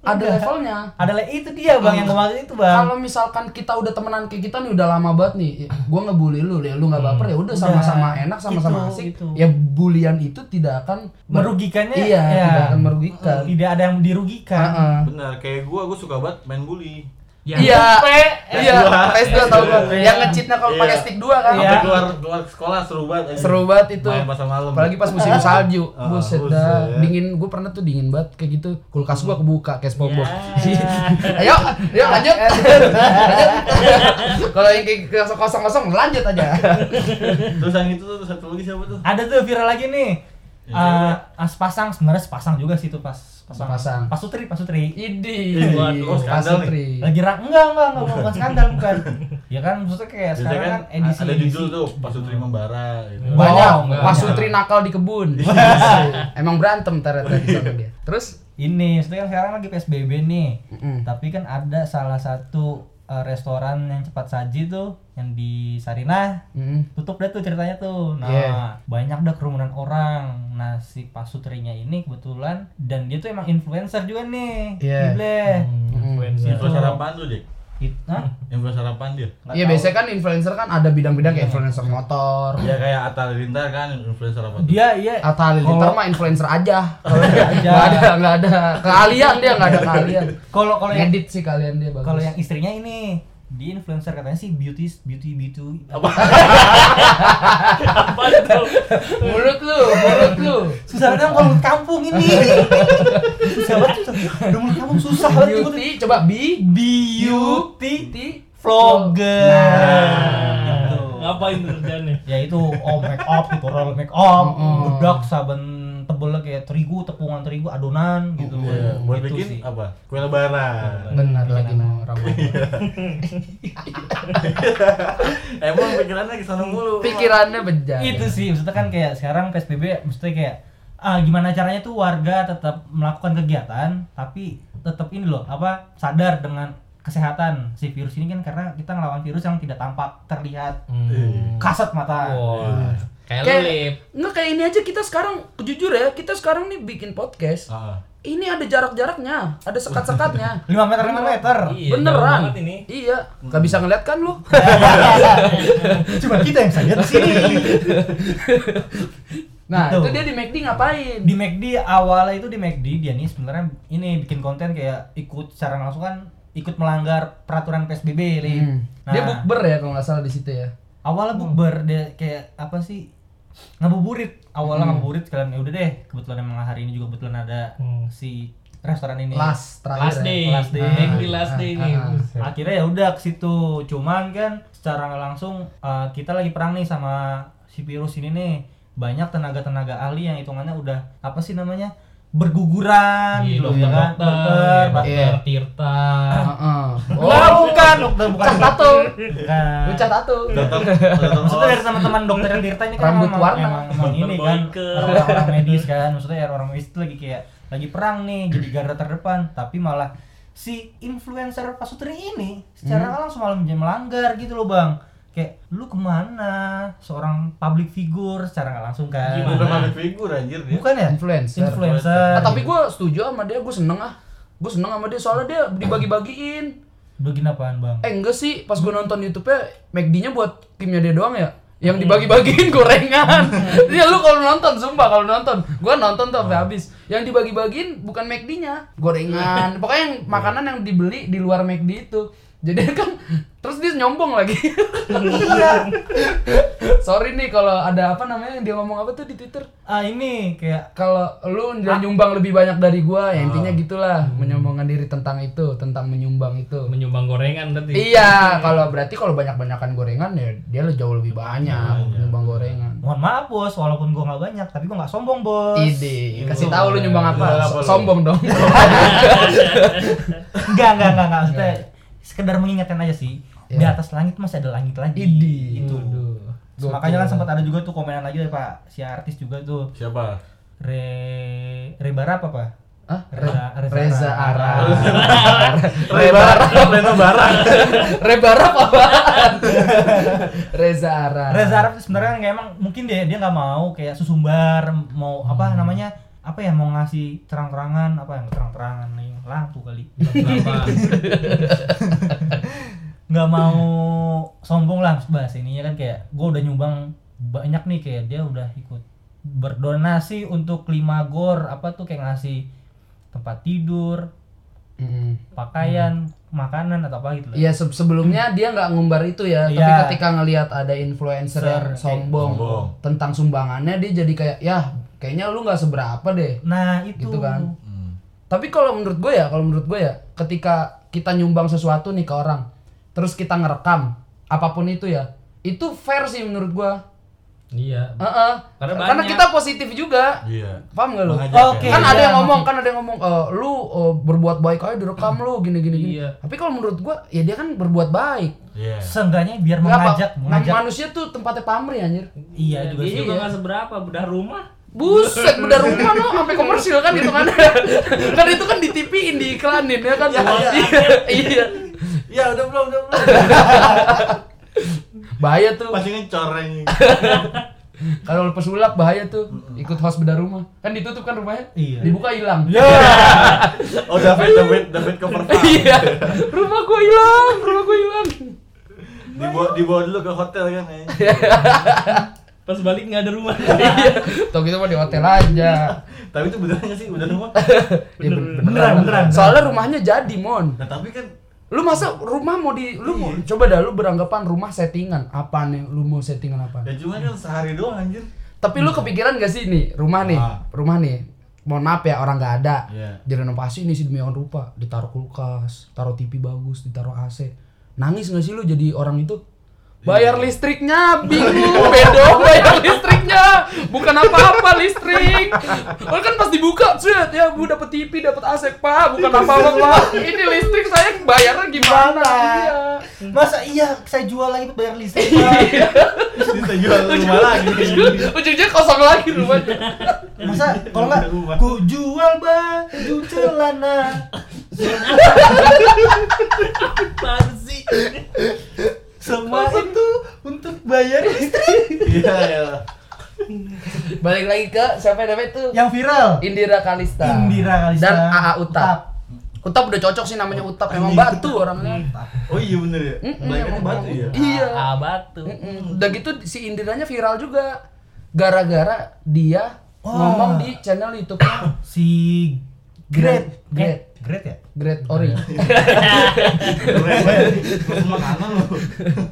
ada levelnya.
Adalah itu dia, Bang, yang kemarin itu, Bang.
kalau misalkan kita udah temenan kayak kita nih udah lama banget nih gue ngebully lu ya lu nggak baper ya udah sama-sama enak sama-sama
Hmm. Gitu,
asik
gitu.
ya bulian itu tidak akan ber-
Merugikannya,
iya
ya.
tidak akan merugikan
Tidak ada yang dirugikan.
Heeh.
Bener, kayak gua, gua suka banget main bully.
Ya,
iya iya
dua.
PS2 tau gua
Iya.
yang ngecitnya kalau
Iya.
pakai stick dua kan
Iya.
Sampai keluar keluar sekolah seru banget. anjing.
seru banget itu
Main pasar malam.
apalagi pas musim salju
Ah,
buset
buset.
dah dingin gue pernah tuh dingin banget kayak gitu kulkas gua kebuka kayak SpongeBob
Iya.
ayo ayo lanjut Lanjut. kalau yang kayak kosong kosong lanjut aja
Terus yang itu tuh satu lagi siapa tuh?
Ada tuh viral lagi nih.
Ya,
Eh, ah, sepasang sebenarnya sepasang juga sih itu pas pasang.
Sepasang.
Pasutri, pasutri.
Idi,
Idi, oh, skandal nih.
Pasutri.
lagi ra enggak enggak enggak bukan, bukan skandal bukan ya kan maksudnya kayak
Biasanya
sekarang kan edisi
ada
edisi Hmm.
judul tuh Pak Sutri membara gitu.
Ba- Banyak,
Oh,
banyak. Iya.
Pasutri nakal di kebun. Emang berantem ternyata di sana dia. Terus
ini maksudnya kan sekarang lagi psbb nih
Mm-mm.
tapi kan ada salah satu eh, restoran yang cepat saji tuh yang di Sarinah
Mm.
tutup deh tuh ceritanya tuh nah
Yeah.
banyak dah kerumunan orang nah si pasutrinya ini kebetulan dan dia tuh emang influencer juga nih
Yeah.
Ibleh.
Hmm.
Influencer.
Influencer apaan tuh, Dik?
It- hah?
Influencer apaan
Nggak
dia?
Iya
tahu. Iya.
biasanya kan influencer kan ada bidang-bidang kayak influencer motor.
Ya kayak Atta Halilintar kan influencer apa tuh?
dia iya
Atta Halilintar mah influencer aja.
aja.
Enggak ada, enggak ada. Keahlian dia enggak ada keahlian.
kalau kalau yang
Edit sih kalian dia bagus.
kalau yang istrinya ini di influencer katanya sih beauty beauty beauty
Apa itu?
mulut lu, mulut lu.
susah banget kalau mulut kampung ini susah banget susah udah mulut kampung susah banget
Beauty coba B
beauty
T
vlogger
Nah.
Gitu.
Ngapain kerjanya?
ya itu oh make up tutorial make up
Mm-mm.
bedak saben tebelnya kayak terigu tepungan terigu adonan gitu
Iya, buat
Gitu sih.
bikin apa? Kue lebaran.
Benar Nah, lagi mau Ramadan.
Emang pikirannya ke sana mulu.
Pikirannya bejat.
Ya, itu sih maksudnya kan kayak sekarang psbb maksudnya kayak ah gimana caranya tuh warga tetap melakukan kegiatan tapi tetap ini loh apa sadar dengan kesehatan si virus ini kan karena kita ngelawan virus yang tidak tampak terlihat
Mm.
kasat mata
Wah, kayak
Kayak-
lip.
Nggak kayak ini aja kita sekarang jujur ya, kita sekarang nih bikin
Oh.
podcast.
Heeh.
Ini ada jarak-jaraknya, ada sekat-sekatnya.
5 meter 5 meter
Iya, jauh
Beneran.
banget ini.
Iya, nggak bisa ngeliat kan lu?
cuma kita yang sadar di sini
Nah,
Gitu.
itu dia di McD ngapain?
di McD awalnya itu di McD dia nih sebenarnya ini bikin konten kayak ikut secara langsung kan ikut melanggar peraturan PSBB Li.
Hmm.
Nah,
Dia bukber ya kalau nggak salah di situ ya.
awalnya bukber dia kayak apa sih ngabuburit awalnya ngabuburit kalian ya udah deh kebetulan emang hari ini juga kebetulan ada
Hmm.
si restoran ini
Last
Last terakhir.
day.
ya.
Last day.
Happy last day
Ah,
nih.
ah, ah.
Buset.
akhirnya ya udah ke situ cuman kan secara nggak langsung eh, kita lagi perang nih sama si virus ini nih banyak tenaga-tenaga ahli yang hitungannya udah apa sih namanya berguguran
Iya,
gitu loh,
dokter,
ya kan
dokter,
dokter
dokter,
Iya.
Tirta.
Heeh.
Nggak, bukan dokter bukan
Ucah tato.
Bukan.
Ucah tato.
Datang, datang
maksudnya dari
os.
teman-teman dokter yang Tirta ini kan
Rambut
emang,
warna.
emang, emang
Dokter
ini kan
Boyke.
orang-orang medis kan maksudnya ya orang medis itu lagi kayak lagi perang nih jadi garda terdepan tapi malah si influencer pasutri ini secara
Hmm.
nggak langsung malah menjadi melanggar gitu loh bang kayak lu kemana seorang public figure secara nggak langsung kan
Bukan public figure anjir dia.
bukan ya
Influencer.
influencer
Ah, tapi gue setuju sama dia, gue seneng ah. Gue seneng sama dia soalnya dia dibagi-bagiin.
begini apaan bang
Eh enggak sih, pas gue nonton YouTube-nya McD-nya buat timnya dia doang ya. Yang dibagi-bagiin gorengan. Iya lu kalau nonton sumpah kalau nonton. Gua nonton tuh sampai habis. Yang dibagi-bagiin bukan McD-nya, gorengan. Pokoknya yang makanan yang dibeli di luar McD itu. Jadi kan terus dia nyombong lagi.
iya
Sorry nih kalau ada apa namanya yang dia ngomong apa tuh di Twitter.
ah ini kayak
Kalau lu udah nyumbang lebih banyak dari gua, ya intinya gitulah menyombongkan diri tentang itu, tentang menyumbang itu.
Menyumbang gorengan berarti.
Iya, kalau berarti kalau banyak-banyakan gorengan ya dia le- jauh lebih banyak nyumbang gorengan.
mohon maaf bos walaupun gua nggak banyak tapi gua nggak sombong bos
Ide, kasih tahu lu
Iya,
nyumbang
Nyumbang
apa?
apa lu?
Sombong dong.
Enggak, enggak, enggak, enggak. Maksudnya sekedar mengingatkan aja sih. Di
Iya.
atas langit masih ada langit lagi.
Ide.
Itu.
Gokil.
Makanya kan sempat ada juga tuh komenan lagi dari Pak si artis juga tuh.
Siapa?
Re Rebara apa, Pak?
Hah?
Reza, Reza,
Reza Ara.
Lebaran, lebaran.
Rebarap apa? Reza Ara.
Reza Arab tuh sebenarnya nggak emang mungkin dia dia nggak mau kayak susumbar mau apa
Hmm.
namanya apa ya mau ngasih terang-terangan apa yang terang-terangan nih lampu kali nggak mau sombong lah bahas ini kan kayak gue udah nyumbang banyak nih kayak dia udah ikut berdonasi untuk lima gor apa tuh kayak ngasih tempat tidur
Mm.
pakaian makanan atau apa gitu lah.
Hmm. Iya se- sebelumnya dia nggak ngumbar itu ya, tapi
Iya.
ketika ngelihat ada influencer
Ser-
yang sombong,
Sombong.
tentang sumbangannya dia jadi kayak ya kayaknya lu nggak seberapa deh.
nah itu
Gitu kan.
Hmm.
Tapi kalau menurut gue ya, kalau menurut gue ya, ketika kita nyumbang sesuatu nih ke orang, terus kita ngerekam apapun itu ya, itu fair sih menurut gue.
Iya.
Heeh.
Karena
Karena,
banyak.
kita positif juga.
Iya.
Paham gak lu?
Mengajak
Oke.
ya.
kan ada
iya,
yang ngomong kan ada yang ngomong "Eh, lu eh, berbuat baik aja direkam lu gini gini gini.
Iya.
Tapi kalau menurut gua ya dia kan berbuat baik.
Iya.
seenggaknya biar
Nggak apa-
mengajak mengajak
manusia tuh tempatnya pamrih anjir.
iya juga
Dia
sih
juga nggak seberapa, bedah rumah.
Buset, beda rumah lo sampai komersil gitu kan itu kan. kan itu kan di TV-in diiklanin ya kan. Iya. Iya.
Iya udah belum udah belum.
bahaya tuh
Pasti ngecor anjing.
kalau lepas sulap bahaya tuh ikut host bedah rumah kan ditutup kan rumahnya
Iya.
dibuka hilang
Ya. Oh David David David cover farm.
iya rumah gua hilang rumah gua hilang
Dibawa dibawa dulu ke hotel kan anjing.
Pas balik nggak ada rumah.
iya tau gitu mah di hotel aja
Tapi itu beneran nggak sih bener rumah?
Ya,
Bener,
beneran,
beneran, beneran.
soalnya rumahnya jadi mon
Nah tapi kan
lu masa rumah mau di lu mau coba dah lu beranggapan rumah settingan apaan nih lu mau settingan apaan
ya cuma kan sehari doang anjir.
Tapi lu kepikiran gak sih nih rumah nih,
Ah.
rumah nih. Mohon maaf ya orang nggak ada.
Iya.
Direnovasi ini sih demi orang rupa, ditaruh kulkas, taruh TV bagus, ditaruh AC. Nangis gak sih lu jadi orang itu? Bayar listriknya bingung, bedo bayar listriknya. Bukan apa-apa listrik. Orang kan pas dibuka, set ya Bu dapat TV, dapat AC, Pak. Bukan apa-apa, Pak. Ini listrik saya bayarnya gimana? Iya.
Masa iya saya jual lagi bayar listrik.
Iya.
Pak?
Ini saya jual rumah lagi.
Ujung-ujungnya kosong lagi rumahnya.
Masa kalau nggak
Rumah.
ku jual baju celana
Apaan sih?
semua itu untuk bayar listrik.
Iya ya.
Balik lagi ke siapa yang namanya itu?
Yang viral.
Indira Kalista.
Indira Kalista.
Iya. Dan AA Utap.
Utap. Hmm.
Utap. udah cocok sih namanya Utap, emang
Anjing.
batu orangnya.
Oh iya bener ya.
Mm-mm,
Baikannya
emang
batu
batu.
ya.
Iya.
Ah, batu.
Mm-mm. Udah gitu si Indiranya viral juga gara-gara dia
Wah.
ngomong di channel YouTube
Si Great.
Great.
Great ya?
Great Ori.
Iya.
Keren banget. Terus makanan lu.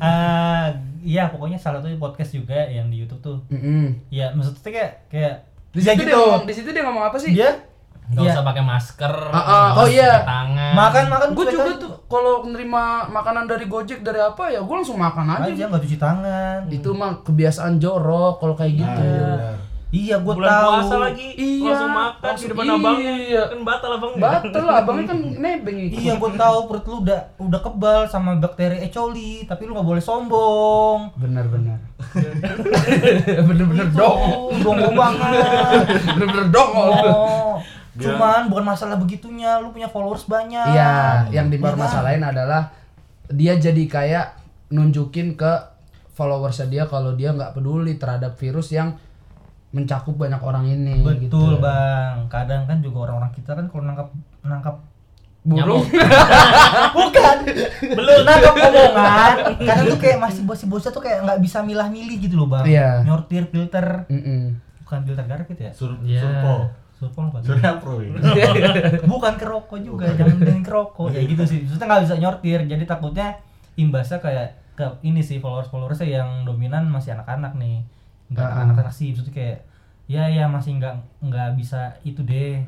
Eh, Iya, pokoknya salah satu podcast juga yang di YouTube tuh.
Mm-mm.
Ya, maksudnya kayak kayak
Di situ dia ngomong, di situ dia ngomong apa sih?
gitu. Dia
Gak
Iya.
usah pakai masker.
Ah, ah, oh
nggak usah
iya.
pakai Tangan.
makan makan
Gue juga tuh kalau nerima makanan dari Gojek dari apa ya gue langsung makan aja.
aja nggak cuci tangan.
Itu mah kebiasaan jorok kalau kayak gitu.
Nah,
Iya, gua
Bulan
tahu.
puasa lagi.
Iya.
Langsung makan di
Langsung-
depan abangnya.
iya.
Kan batal abangnya.
Batal lah, abangnya kan nebeng itu.
Iya, gua tahu perut lu udah udah kebal sama bakteri E. coli, tapi lu nggak boleh sombong.
Benar-benar. Benar-benar dong.
Oh, dongong banget.
Bener-bener dong.
Oh,
Dia-
cuman bukan masalah begitunya, lu punya followers banyak.
Iya, yang
masalah
dipermasalahin adalah dia jadi kayak nunjukin ke followersnya dia kalau dia nggak peduli terhadap virus yang mencakup banyak orang ini.
Betul,
gitu.
Bang. Kadang kan juga orang-orang kita kan kalau nangkap nangkap
Burung.
bukan belum nangkap omongan kadang tuh kayak masih bos bosnya tuh kayak nggak bisa milah-milih gitu loh bang
Iya.
nyortir filter
Mm-mm.
bukan filter garpit ya
Sur
Iya.
surpo.
surpol apa tuh?
Surya Pro. ya?
bukan kerokok juga jangan dengan kerokok ya gitu sih maksudnya nggak bisa nyortir jadi takutnya imbasnya kayak ke ini sih followers followersnya yang dominan masih anak-anak nih nggak
Ah.
anak-anak sih maksudnya kayak ya ya masih nggak nggak bisa itu deh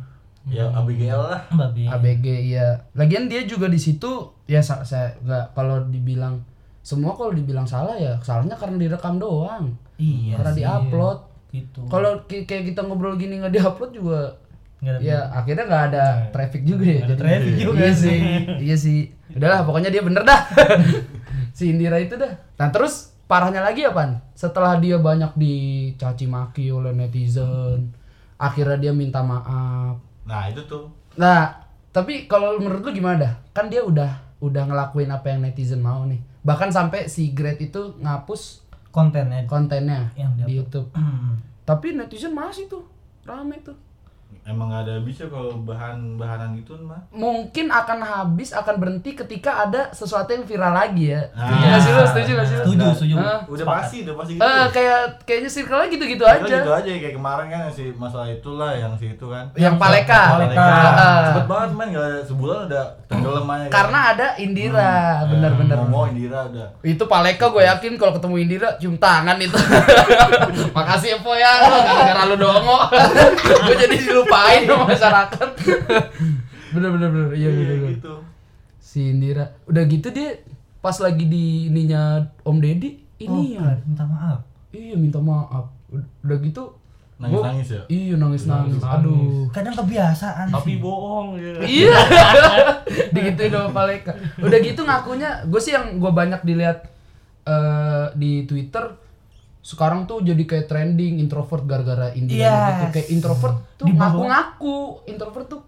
Ya Abigail lah.
babi
ABG iya. Lagian dia juga di situ ya sa- saya nggak kalau dibilang semua kalau dibilang salah ya salahnya karena direkam doang.
iya
karena
sih.
diupload.
gitu
Kalau ki- kayak kita ngobrol gini nggak diupload juga
Nggak ada
ya akhirnya nggak ada traffic juga ya.
Iya. nggak ada
jadi.
traffic juga
iya
sih
sih, iya sih. Udahlah, pokoknya dia bener dah. si Indira itu dah. Nah, terus parahnya lagi apa? Setelah dia banyak dicaci maki oleh netizen, akhirnya dia minta maaf.
Nah itu tuh.
Nah, tapi kalau menurut lu gimana dah? Kan dia udah udah ngelakuin apa yang netizen mau nih. Bahkan sampai si Great itu ngapus
kontennya Hmm.
kontennya
Yang dia
di YouTube. Tapi netizen masih tuh rame tuh.
Emang nggak ada bisa kalau bahan-bahanan gitu mah.
mungkin akan habis akan berhenti ketika ada sesuatu yang viral lagi ya.
Ah.
Setuju nggak sih lu? Setuju nggak sih lu?
setuju setuju
Ah.
Udah
Sepakat.
pasti, udah pasti gitu.
Eh, kayak kayaknya circle gitu-gitu aja.
Gitu aja kayak kemarin kan yang si masalah itulah yang si itu kan.
Yang Paleka.
Paleka.
Ah. Mm.
Cepet banget man, nggak ada- sebulan udah tenggelam aja. kan.
Karena ada
Iya, Hmm.
Indira, Iya.
Ya,
bener-bener.
Momo Indira udah.
Itu Paleka gue yakin kalau ketemu Indira cium tangan itu. Makasih Epo ya, lu gara-gara lu dongo. gue jadi dilupain sama masyarakat. Bener-bener bener. Iya, bener, bener.
gitu.
Si Indira. Udah gitu dia pas lagi di ininya Om Deddy ini ya.
Oh, minta maaf
Iya minta maaf. Udah gitu
Nangis
gua-
nangis ya.
Iya nangis nangis.
Nangis-nangis.
Aduh.
kadang kebiasaan
Tapi
sih.
bohong. ya.
Iya. Digituin sama Paleka. Udah gitu ngakunya, gue sih yang gue banyak dilihat eh di Twitter sekarang tuh jadi kayak trending introvert gara-gara India gitu.
Yes.
Kayak introvert tuh
Di bawah. Hmm.
ngaku-ngaku. Introvert tuh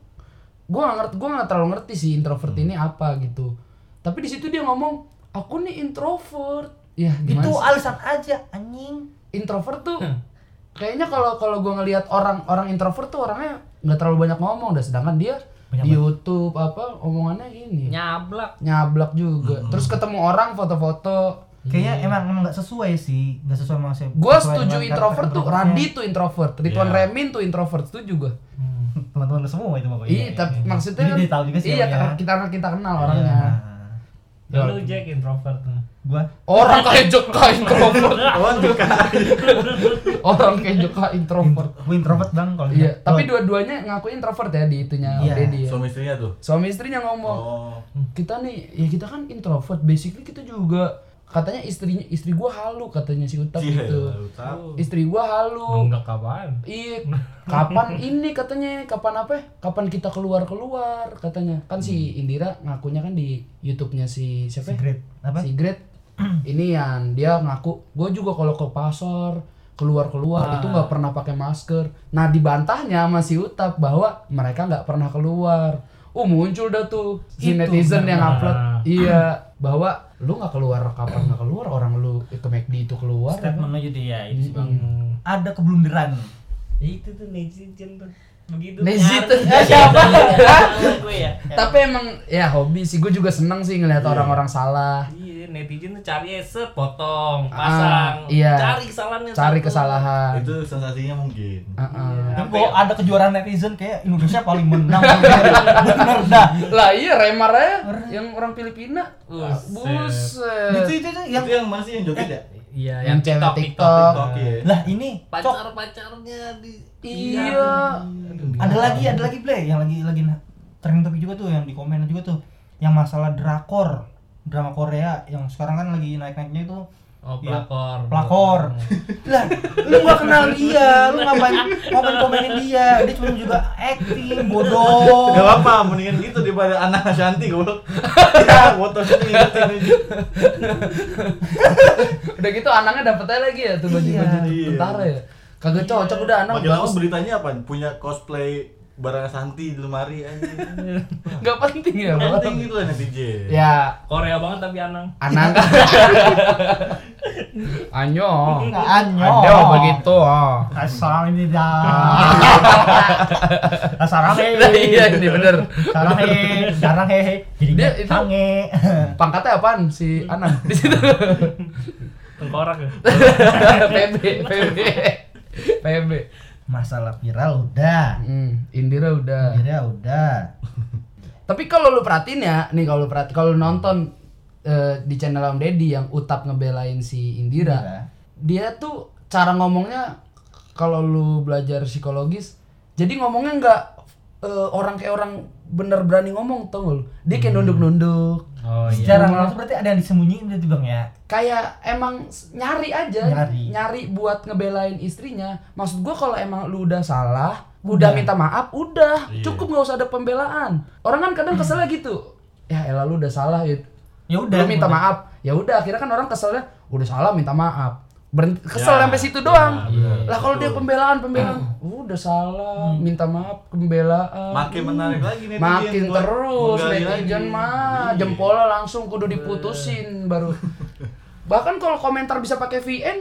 gue gak ngerti, gue gak terlalu ngerti sih introvert ini apa gitu. Tapi di situ dia ngomong, aku nih introvert. Ya, gimana
Itu
sih?
alasan aja anjing.
introvert tuh
Hmm.
kayaknya kalau kalau gue ngelihat orang orang introvert tuh orangnya nggak terlalu banyak ngomong dah sedangkan dia di YouTube apa omongannya ini
Nyablak.
nyablak juga
Hmm.
terus ketemu orang foto-foto
Kayaknya emang emang nggak sesuai sih, nggak sesuai sama saya.
gue
sesuai
Iya. setuju
dengan
introvert
karakter
tuh
introvertnya. Iya.
Radit tuh introvert Ridwan Remin tuh introvert setuju gue
Teman-teman lu semua itu pokoknya.
iya tapi maksudnya
Jadi dia tahu juga sih.
iya
orangnya.
karena kita karena kita kenal orangnya Iya.
Nah,
Ya, lu Jack introvert.
gua
orang kayak Jeka introvert
Oh, juga.
orang kayak Jeka introvert
gua introvert bang kalau Oh,
iya
kalau-
tapi dua-duanya ngaku introvert ya di itunya
Iya.
Deddy ya.
Suami istrinya tuh.
suami istrinya ngomong
Oh.
kita nih ya kita kan introvert basically kita juga katanya istrinya istri gua halu katanya si Utap
Cie,
itu
tahu.
istri gua
Oh.
halu
Enggak kapan.
iya kapan ini katanya kapan apa ya? kapan kita keluar keluar katanya kan si Indira ngakunya kan di YouTube-nya si siapa ya?
Great. Apa?
si Gret ini yang dia ngaku gue juga kalau ke pasar keluar keluar itu nggak pernah pakai masker nah dibantahnya sama si Utap bahwa mereka nggak pernah keluar uh muncul dah tuh si
Itu
netizen yang
benar.
upload iya bahwa lu nggak keluar kapan nggak keluar orang lu ke McD itu keluar
Statement lu jadi ya itu sih, Bang.
Hmm.
Ada kebelunderan.
Itu tuh netizen tuh. Begitu.
Netizen.
nyari-
Siapa?
Nyari gue ya.
tapi emang ya hobi sih gue juga seneng sih ngeliat orang-orang salah
Iya, netizen tuh cari ya, set potong, pasang,
Ah, iya.
cari kesalahannya.
cari
satu.
kesalahan
Itu sensasinya mungkin.
Heeh.
Tapi
Apa
kalau
ya?
ada kejuaraan netizen kayak Indonesia paling menang. Bener dah.
lah iya Remar aja yang orang Filipina buset
Itu itu itu yang
Itu yang mana sih yang joget ya?
Iya,
yang cewek
TikTok,
TikTok.
Oke.
lah ini cok
Pacar-pacarnya di
Iya.
ada lagi ada lagi play yang lagi lagi na- trending topic juga tuh yang di komen juga tuh yang masalah drakor drama Korea yang sekarang kan lagi naik naiknya itu
Oh,
Iya.
pelakor.
pelakor lah lu nggak kenal dia lu ngapain ngapain komenin dia dia cuma juga acting bodoh
Gak apa-apa, mendingan gitu daripada anak Shanti gue Ya, foto Shanti ngikutin aja
Udah gitu anaknya dapetnya lagi ya tuh baju-baju
Iya,
iya.
tentara ya. Kagak cocok udah anak
Makin lama
bagus.
beritanya apa? Punya cosplay barang Shanti di lemari anjing
Gak penting ya. Bang.
Penting gitu lah netizen
Ya,
Korea banget tapi Anang.
anak. Anyo.
Nggak, anyo.
Ada
gitu?
begitu. oh.
Asal ini dah. Asal
Nah, iya ini bener.
Sarang he, sarang he, jadi
Dia itu-
sange.
Pangkatnya apaan si Anang di situ?
Tengkorak ya.
PB, PB, PB.
Masalah viral udah,
Hmm, Indira udah.
Akhirnya udah.
Tapi kalau lu perhatiin ya, nih kalau lu perhati- kalau lu nonton eh, di channel Om Deddy yang utap ngebelain si
Indira.
Indira, dia tuh cara ngomongnya kalau lu belajar psikologis, jadi ngomongnya nggak eh, orang kayak orang bener berani ngomong tau nggak lu? Dia kayak nunduk-nunduk,
Oh
Secara nggak langsung berarti ada yang disembunyiin berarti bang ya.
kayak emang s- nyari aja,
Nyari.
buat ngebelain istrinya. Maksud gua kalau emang lu udah salah, udah minta maaf, udah
Iya.
cukup nggak usah ada pembelaan. Orang kan kadang keselnya gitu, ya elah lu udah salah ya
Ya udah.
lu minta
udah.
maaf ya udah akhirnya kan orang keselnya udah salah minta maaf Berhenti, kesel
Ya,
sampai
ya,
situ doang
benar.
lah kalau dia
Betul.
pembelaan pembelaan Oh, udah salah minta maaf pembelaan
Ah. Hmm. Makin menarik lagi netizen
makin
buat
terus
menggali
netizen
lagi.
mah
Iya. Eh.
jempolnya langsung kudu diputusin baru bahkan kalau komentar bisa pakai VN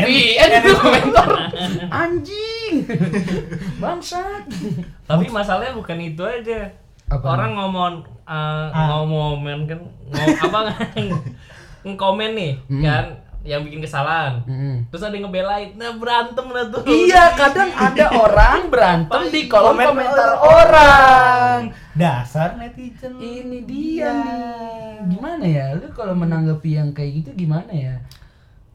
VN itu komentar anjing bangsat
Tapi masalahnya bukan itu aja.
Apa? Ah.
Orang ngomong eh, ngomongin kan ngom apa ngkomen nih
Hmm.
kan yang bikin kesalahan.
Mm-mm.
Terus ada yang ngebelain. Nah, berantem lah tuh.
Hmm. iya kadang ada orang berantem di kolom
Komen
komentar
orang.
orang
Dasar netizen.
Ini
Iya.
dia nih. Gimana ya? Lu kalau menanggapi yang kayak gitu gimana ya?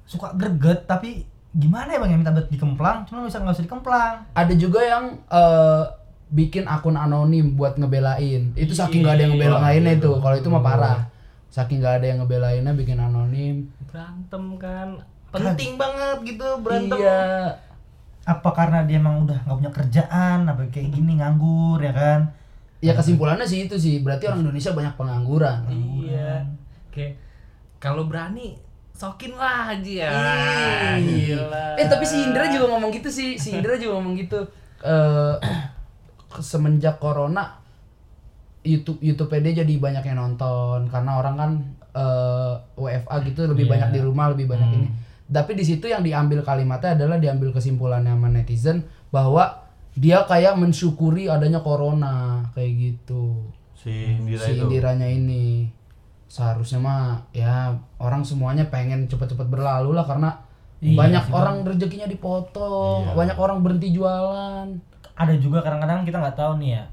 Suka greget tapi gimana ya bang ya minta buat dikemplang, cuma bisa nggak usah dikemplang.
Ada juga yang eh, bikin akun anonim buat ngebelain. Itu saking gak ada yang ngebelainnya itu. Kalau itu mah parah. Saking gak ada yang ngebelainnya bikin anonim.
Berantem kan. Penting banget gitu berantem.
Iya.
Apa karena dia emang udah nggak punya kerjaan, apa kayak gini nganggur ya kan?
Ya kesimpulannya sih itu sih. Berarti orang Indonesia banyak pengangguran.
Iya. Kayak kalau berani sokin lah aja ya. Gila.
Eh tapi si Indra juga ngomong gitu sih. Si Indra juga ngomong gitu. Eh semenjak corona YouTube YouTube PD jadi banyak yang nonton karena orang kan eh, WFA gitu lebih banyak di rumah lebih banyak ini. Tapi di situ yang diambil kalimatnya adalah diambil kesimpulannya sama netizen bahwa dia kayak mensyukuri adanya corona kayak gitu.
si Indira
si
itu
Indiranya ini seharusnya mah ya orang semuanya pengen cepet-cepet berlalu lah karena banyak orang rezekinya dipotong, banyak orang berhenti jualan.
ada juga kadang-kadang kita nggak tahu nih ya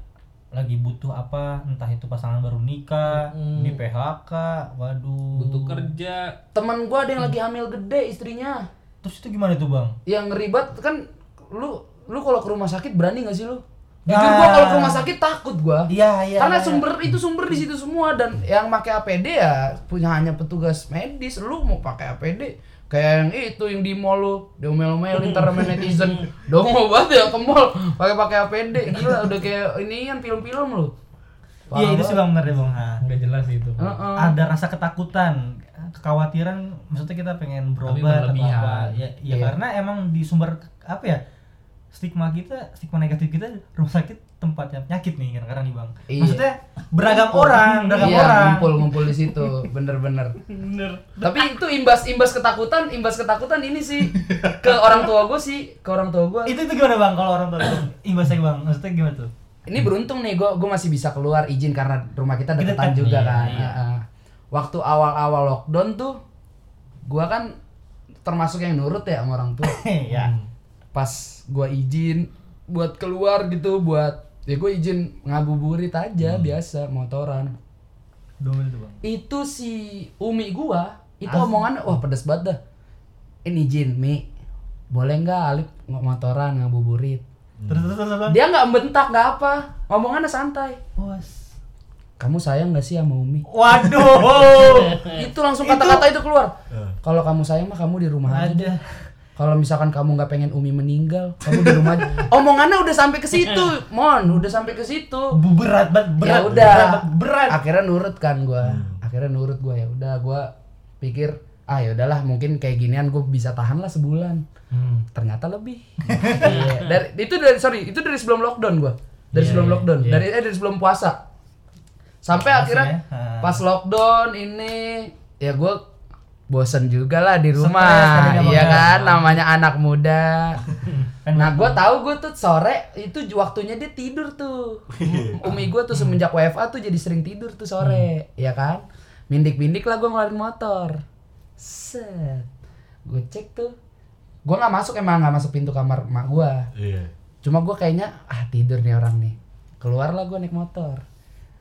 lagi butuh apa entah itu pasangan baru nikah di PHK waduh
butuh kerja
Temen gua ada yang lagi hamil gede istrinya.
terus itu gimana tuh bang
yang ribet kan lu lu kalau ke rumah sakit berani gak sih lu? Jujur gua kalau ke rumah sakit takut gua.
iya iya
Karena
iya.
sumber itu sumber di situ semua dan yang pakai APD ya punya hanya petugas medis. Lu mau pakai APD kayak yang itu yang di mall lu, diomel-omelin ntar sama netizen. Dongo banget ya ke mall pakai-pakai APD. Gila udah kayak ini yang film-film lu.
iya itu sih bang bener ya bang Ha.
nggak jelas itu
Heeh.
ada rasa ketakutan kekhawatiran maksudnya kita pengen berobat atau
berlebihan.
apa ya, ya
Iya.
karena emang di sumber apa ya stigma kita stigma negatif kita rumah sakit tempat yang penyakit nih kadang-kadang nih bang
Iya.
maksudnya beragam orang beragam
Iya,
orang
ngumpul-ngumpul di situ, bener-bener. Tapi itu imbas-imbas ketakutan, imbas ketakutan ini sih ke orang tua gue sih, ke orang tua gue.
itu itu gimana bang kalau orang tua itu imbasnya bang maksudnya gimana tuh
Ini beruntung nih gue, gue masih bisa keluar izin karena rumah kita deketan
Dekat,
juga
iya,
kan.
iya.
Heeh. Waktu awal-awal lockdown tuh, gue kan termasuk yang nurut ya sama orang tua.
ya
Pas gue izin buat keluar gitu, buat ya gue izin ngabuburit aja biasa motoran.
domen tuh bang
itu si Umi gua itu omongannya wah pedes banget dah ini izin Mi boleh nggak Alip nggak motoran ngabuburit
terus terus terus bang
Hmm. dia nggak bentak nggak apa omongannya santai
Bos.
kamu sayang nggak sih sama Umi
waduh
itu langsung kata-kata itu keluar kalau kamu sayang mah kamu di rumah aja
Ada.
deh kalau misalkan kamu nggak pengen Umi meninggal kamu di rumah aja Eh. omongannya udah sampai ke situ mon udah sampai ke situ
Bu- berat banget berat
ya udah
berat, berat
akhirnya nurut kan gua akhirnya nurut gua ya udah gua pikir ah ya udahlah mungkin kayak ginian gue bisa tahan lah sebulan
Hmm.
Hmm, ternyata lebih Iya. dari itu dari sorry itu dari sebelum lockdown gua dari
Iya,
sebelum lockdown dari eh, dari sebelum puasa sampai akhirnya
ya? Ha.
pas lockdown ini ya gua bosen juga lah di
Stres ya,
rumah
tadi
iya
ngomongnya.
kan namanya anak muda
Kan
nah gua tahu gua tuh sore itu waktunya dia tidur tuh Umi gue tuh semenjak WFA tuh jadi sering tidur tuh sore, ya kan? Mindik-mindik lah gue ngeluarin motor. Set. Gue cek tuh. Gue nggak masuk emang nggak masuk pintu kamar emak gue.
iya
Cuma gue kayaknya ah tidur nih orang nih. Keluar lah gue naik motor.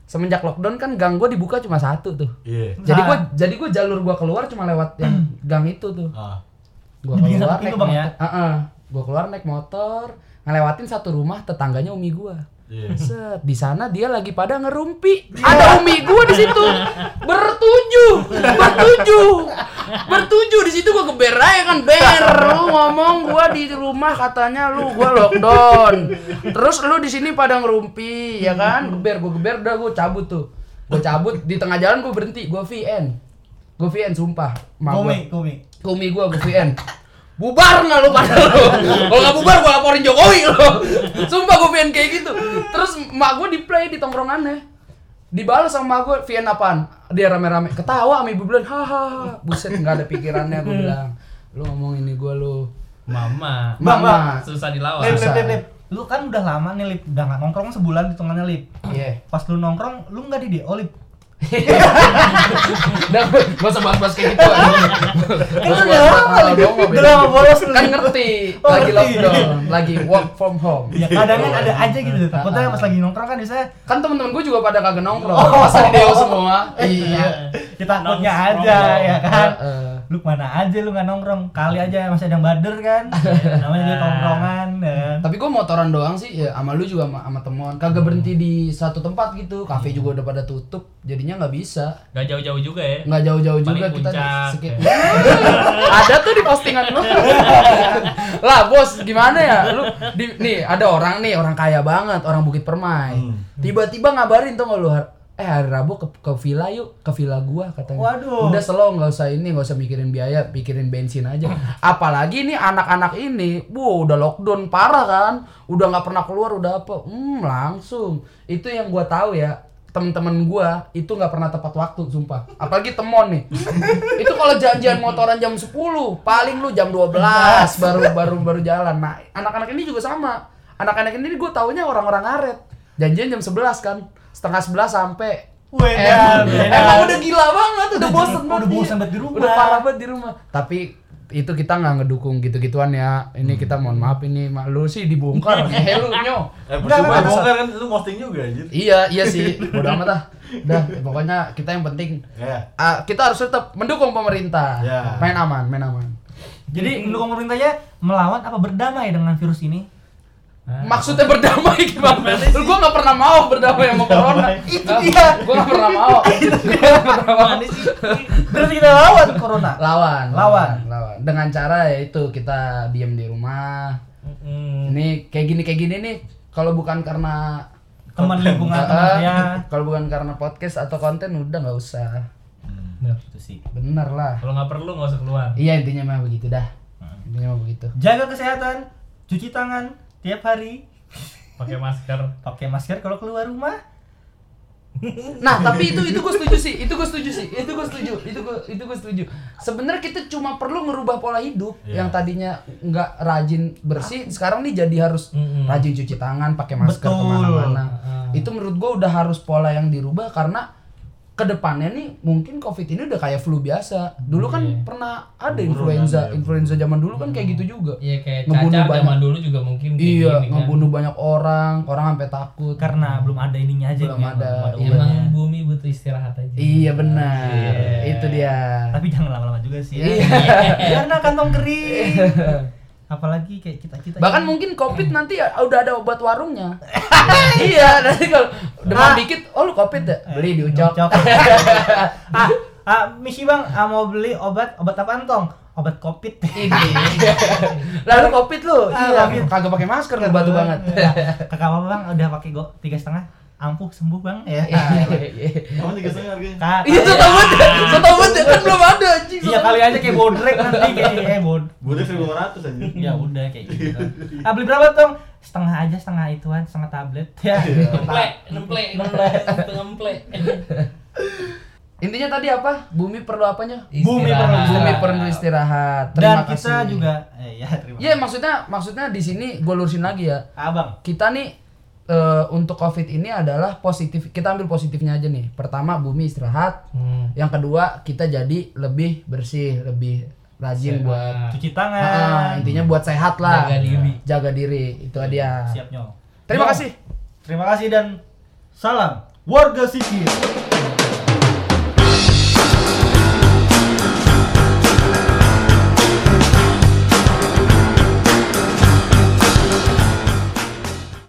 Semenjak lockdown kan gang gue dibuka cuma satu tuh.
iya
Jadi gue jadi gue jalur gue keluar cuma lewat yang gang itu tuh
ah
gua
Dibikin
keluar
satu
naik
pintu, Bang, ya?
motor, Heeh. gua keluar naik motor ngelewatin satu rumah tetangganya umi gua
Iya.
set di sana dia lagi pada ngerumpi ada umi gua di situ bertujuh bertujuh bertujuh di situ gua geber aja kan ber lu ngomong gua di rumah katanya lu gua lockdown terus lu di sini pada ngerumpi ya kan geber gua geber udah gua cabut tuh gua cabut di tengah jalan gua berhenti gua VN gua VN sumpah Emak gua.
komik komik
Kumi gua gue VN. Bubar nggak lu pada lu? Kalau nggak bubar gua laporin Jokowi lu. Sumpah gue VN kayak gitu. Terus mak gua di play di tongkrongannya. Dibalas sama mak gua VN apaan? Dia rame-rame ketawa sama ibu bulan. Hahaha. Buset nggak ada pikirannya gua bilang. Lu ngomong ini gua lu.
mama
Bang, bang.
Mama.
susah dilawan
lip lip
Oh, Susah.
lip lip lu kan udah lama nih lip udah nggak nongkrong sebulan di tengahnya lip
Iya.
pas lu nongkrong lu nggak di DO lip
Udah gak usah bahas-bahas kayak gitu. Gak
Kan
usah
udah
bahas-bahas
lama
masalah
lip
dongo,
udah lama bolos lu
Kan ngerti
Oh,
lagi
ngerti.
lockdown, lagi work from home.
ya kadang kan ada aja gitu takutnya pas lagi nongkrong kan biasanya
Kan temen-temen gue juga pada kagak nongkrong.
Oh.
Masa di Deo semua. Iya. Eh.
kita takutnya
Nongkrong.
aja ya kan
Heeh.
lu mana aja lu nggak nongkrong kali aja masih ada yang bader kan namanya juga tongkrongan ya kan
Tapi gue motoran doang sih, ya sama lu juga sama, sama temuan. Kagak berhenti di satu tempat gitu, kafe
Iya.
juga udah pada tutup, jadinya nggak bisa.
nggak jauh-jauh juga ya
Nggak jauh-jauh
Paling
juga kita
puncak,
skip. ada tuh di postingan lu. lah bos, gimana ya? Lu di- nih ada orang nih, orang kaya banget, orang Bukit Permai.
Hmm.
Tiba-tiba ngabarin tuh nggak lu har- eh hari Rabu ke, ke villa yuk, ke villa gua katanya.
Waduh.
Udah slow nggak usah ini, nggak usah mikirin biaya, pikirin bensin aja. Apalagi ini anak-anak ini, bu udah lockdown parah kan, udah nggak pernah keluar, udah apa? Hmm, langsung. Itu yang gua tahu ya. temen-temen gua itu nggak pernah tepat waktu sumpah apalagi temon nih itu kalau janjian motoran jam 10 paling lu jam 12 baru baru baru jalan nah anak-anak ini juga sama anak-anak ini gue taunya orang-orang ngaret janjian jam 11 kan setengah 11 sampai
Wedan, wedan.
Emang, Eh, emang udah gila banget, udah bosen banget.
udah bosen
iya.
banget di rumah.
Udah parah banget di rumah. Tapi itu kita nggak ngedukung gitu-gituan ya. Ini kita mohon maaf ini mak lu sih dibongkar. eh lu nyo.
Eh,
Enggak,
percuma
enggak,
bongkar kan lu posting juga anjir.
Iya, iya sih. Udah amat dah. Udah, pokoknya kita yang penting
Ya.
ah, kita harus tetap mendukung pemerintah.
Ya.
Main aman, main aman. Hmm.
Jadi mendukung pemerintahnya melawan apa berdamai dengan virus ini?
Maksudnya berdamai Nah. gimana? Lu gua nggak pernah mau berdamai sama corona. Itu dia. Gua nggak pernah mau.
Mana sih?
Terus kita lawan corona.
Lawan,
Lawan.
lawan. Dengan cara yaitu kita diam di rumah,
Mm.
Ini kayak gini kayak gini nih kalau bukan karena
Teman ya. lingkungan
Eh,
temannya.
kalau bukan karena podcast atau konten udah nggak usah.
Benar itu sih.
Bener lah.
Kalau nggak perlu nggak usah keluar.
Iya intinya mah begitu dah. Intinya mah begitu.
Jaga kesehatan, cuci tangan tiap hari,
Pakai masker.
pakai masker kalau keluar rumah.
Nah tapi itu itu gue setuju sih. Itu gue setuju sih. Itu gue setuju. Itu gue itu gue setuju. Sebenarnya kita cuma perlu ngerubah pola hidup
Iya.
yang tadinya nggak rajin bersih sekarang nih jadi harus
Ah. Mm-mm. Ah.
rajin cuci tangan pakai masker
Betul.
kemana-mana. Itu menurut gue udah harus pola yang dirubah karena kedepannya nih mungkin covid ini udah kayak flu biasa. Dulu kan
Iya.
pernah ada
Burung ada
influenza,
ya,
influenza zaman dulu kan kayak gitu juga.
Iya kayak
Ngebunuh
cacar zaman
banyak.
dulu juga mungkin kayak gini
Iya,
kan.
ngebunuh banyak orang, orang sampai takut.
Karena belum ada ininya aja
Belum
ya,
ada,
belum
iya.
Emang
obatnya.
bumi butuh istirahat aja.
Iya benar,
Iya.
itu dia.
Tapi jangan lama-lama juga sih. ya.
Iya.
Karena kantong kering. Apalagi kayak kita-kita.
Bahkan mungkin covid
Hmm.
nanti ya udah ada obat warungnya. iya, nanti kalau demam
Ah.
dikit, oh lu covid ya? Beli di Ucok.
Ucok. Eh, ah, ah, misi bang, ah, mau beli obat obat apaan tong? Obat covid.
Lalu covid lu,
Ah,
iya.
Covid.
Kagak pakai masker lu batu banget.
Ya, Kakak apa bang? Udah pakai go tiga setengah, ampuh sembuh bang
Iya.
ya.
Kamu tiga setengah harganya.
Kak,
Itu tau banget, ya, so tau banget ya, kan belum ada anjing.
Ah. iya kali aja kayak bodrek nanti kayak eh bod.
Bodek seribu lima ratus anjir.
Ya udah kayak gitu. Ah beli berapa tong? Setengah aja, setengah ituan, setengah tablet ya.
Nemplek, nemplek, nemplek, nemplek.
Intinya tadi apa? Bumi perlu apanya?
Bumi perlu
Istirahat.
Bumi perlu istirahat.
Iya. Dan
Terima kasih.
kita juga, eh, ya terima.
Iya, maksudnya maksudnya di sini gue lurusin lagi ya.
Abang,
kita nih eh, untuk covid ini adalah positif kita ambil positifnya aja nih pertama bumi istirahat
Hmm.
yang kedua kita jadi lebih bersih lebih rajin buat
cuci
Ah,
tangan.
intinya buat sehat lah
Jaga diri.
jaga diri itu dia
Siap nyong.
terima
Nyong,
kasih
Terima kasih dan salam warga sipil.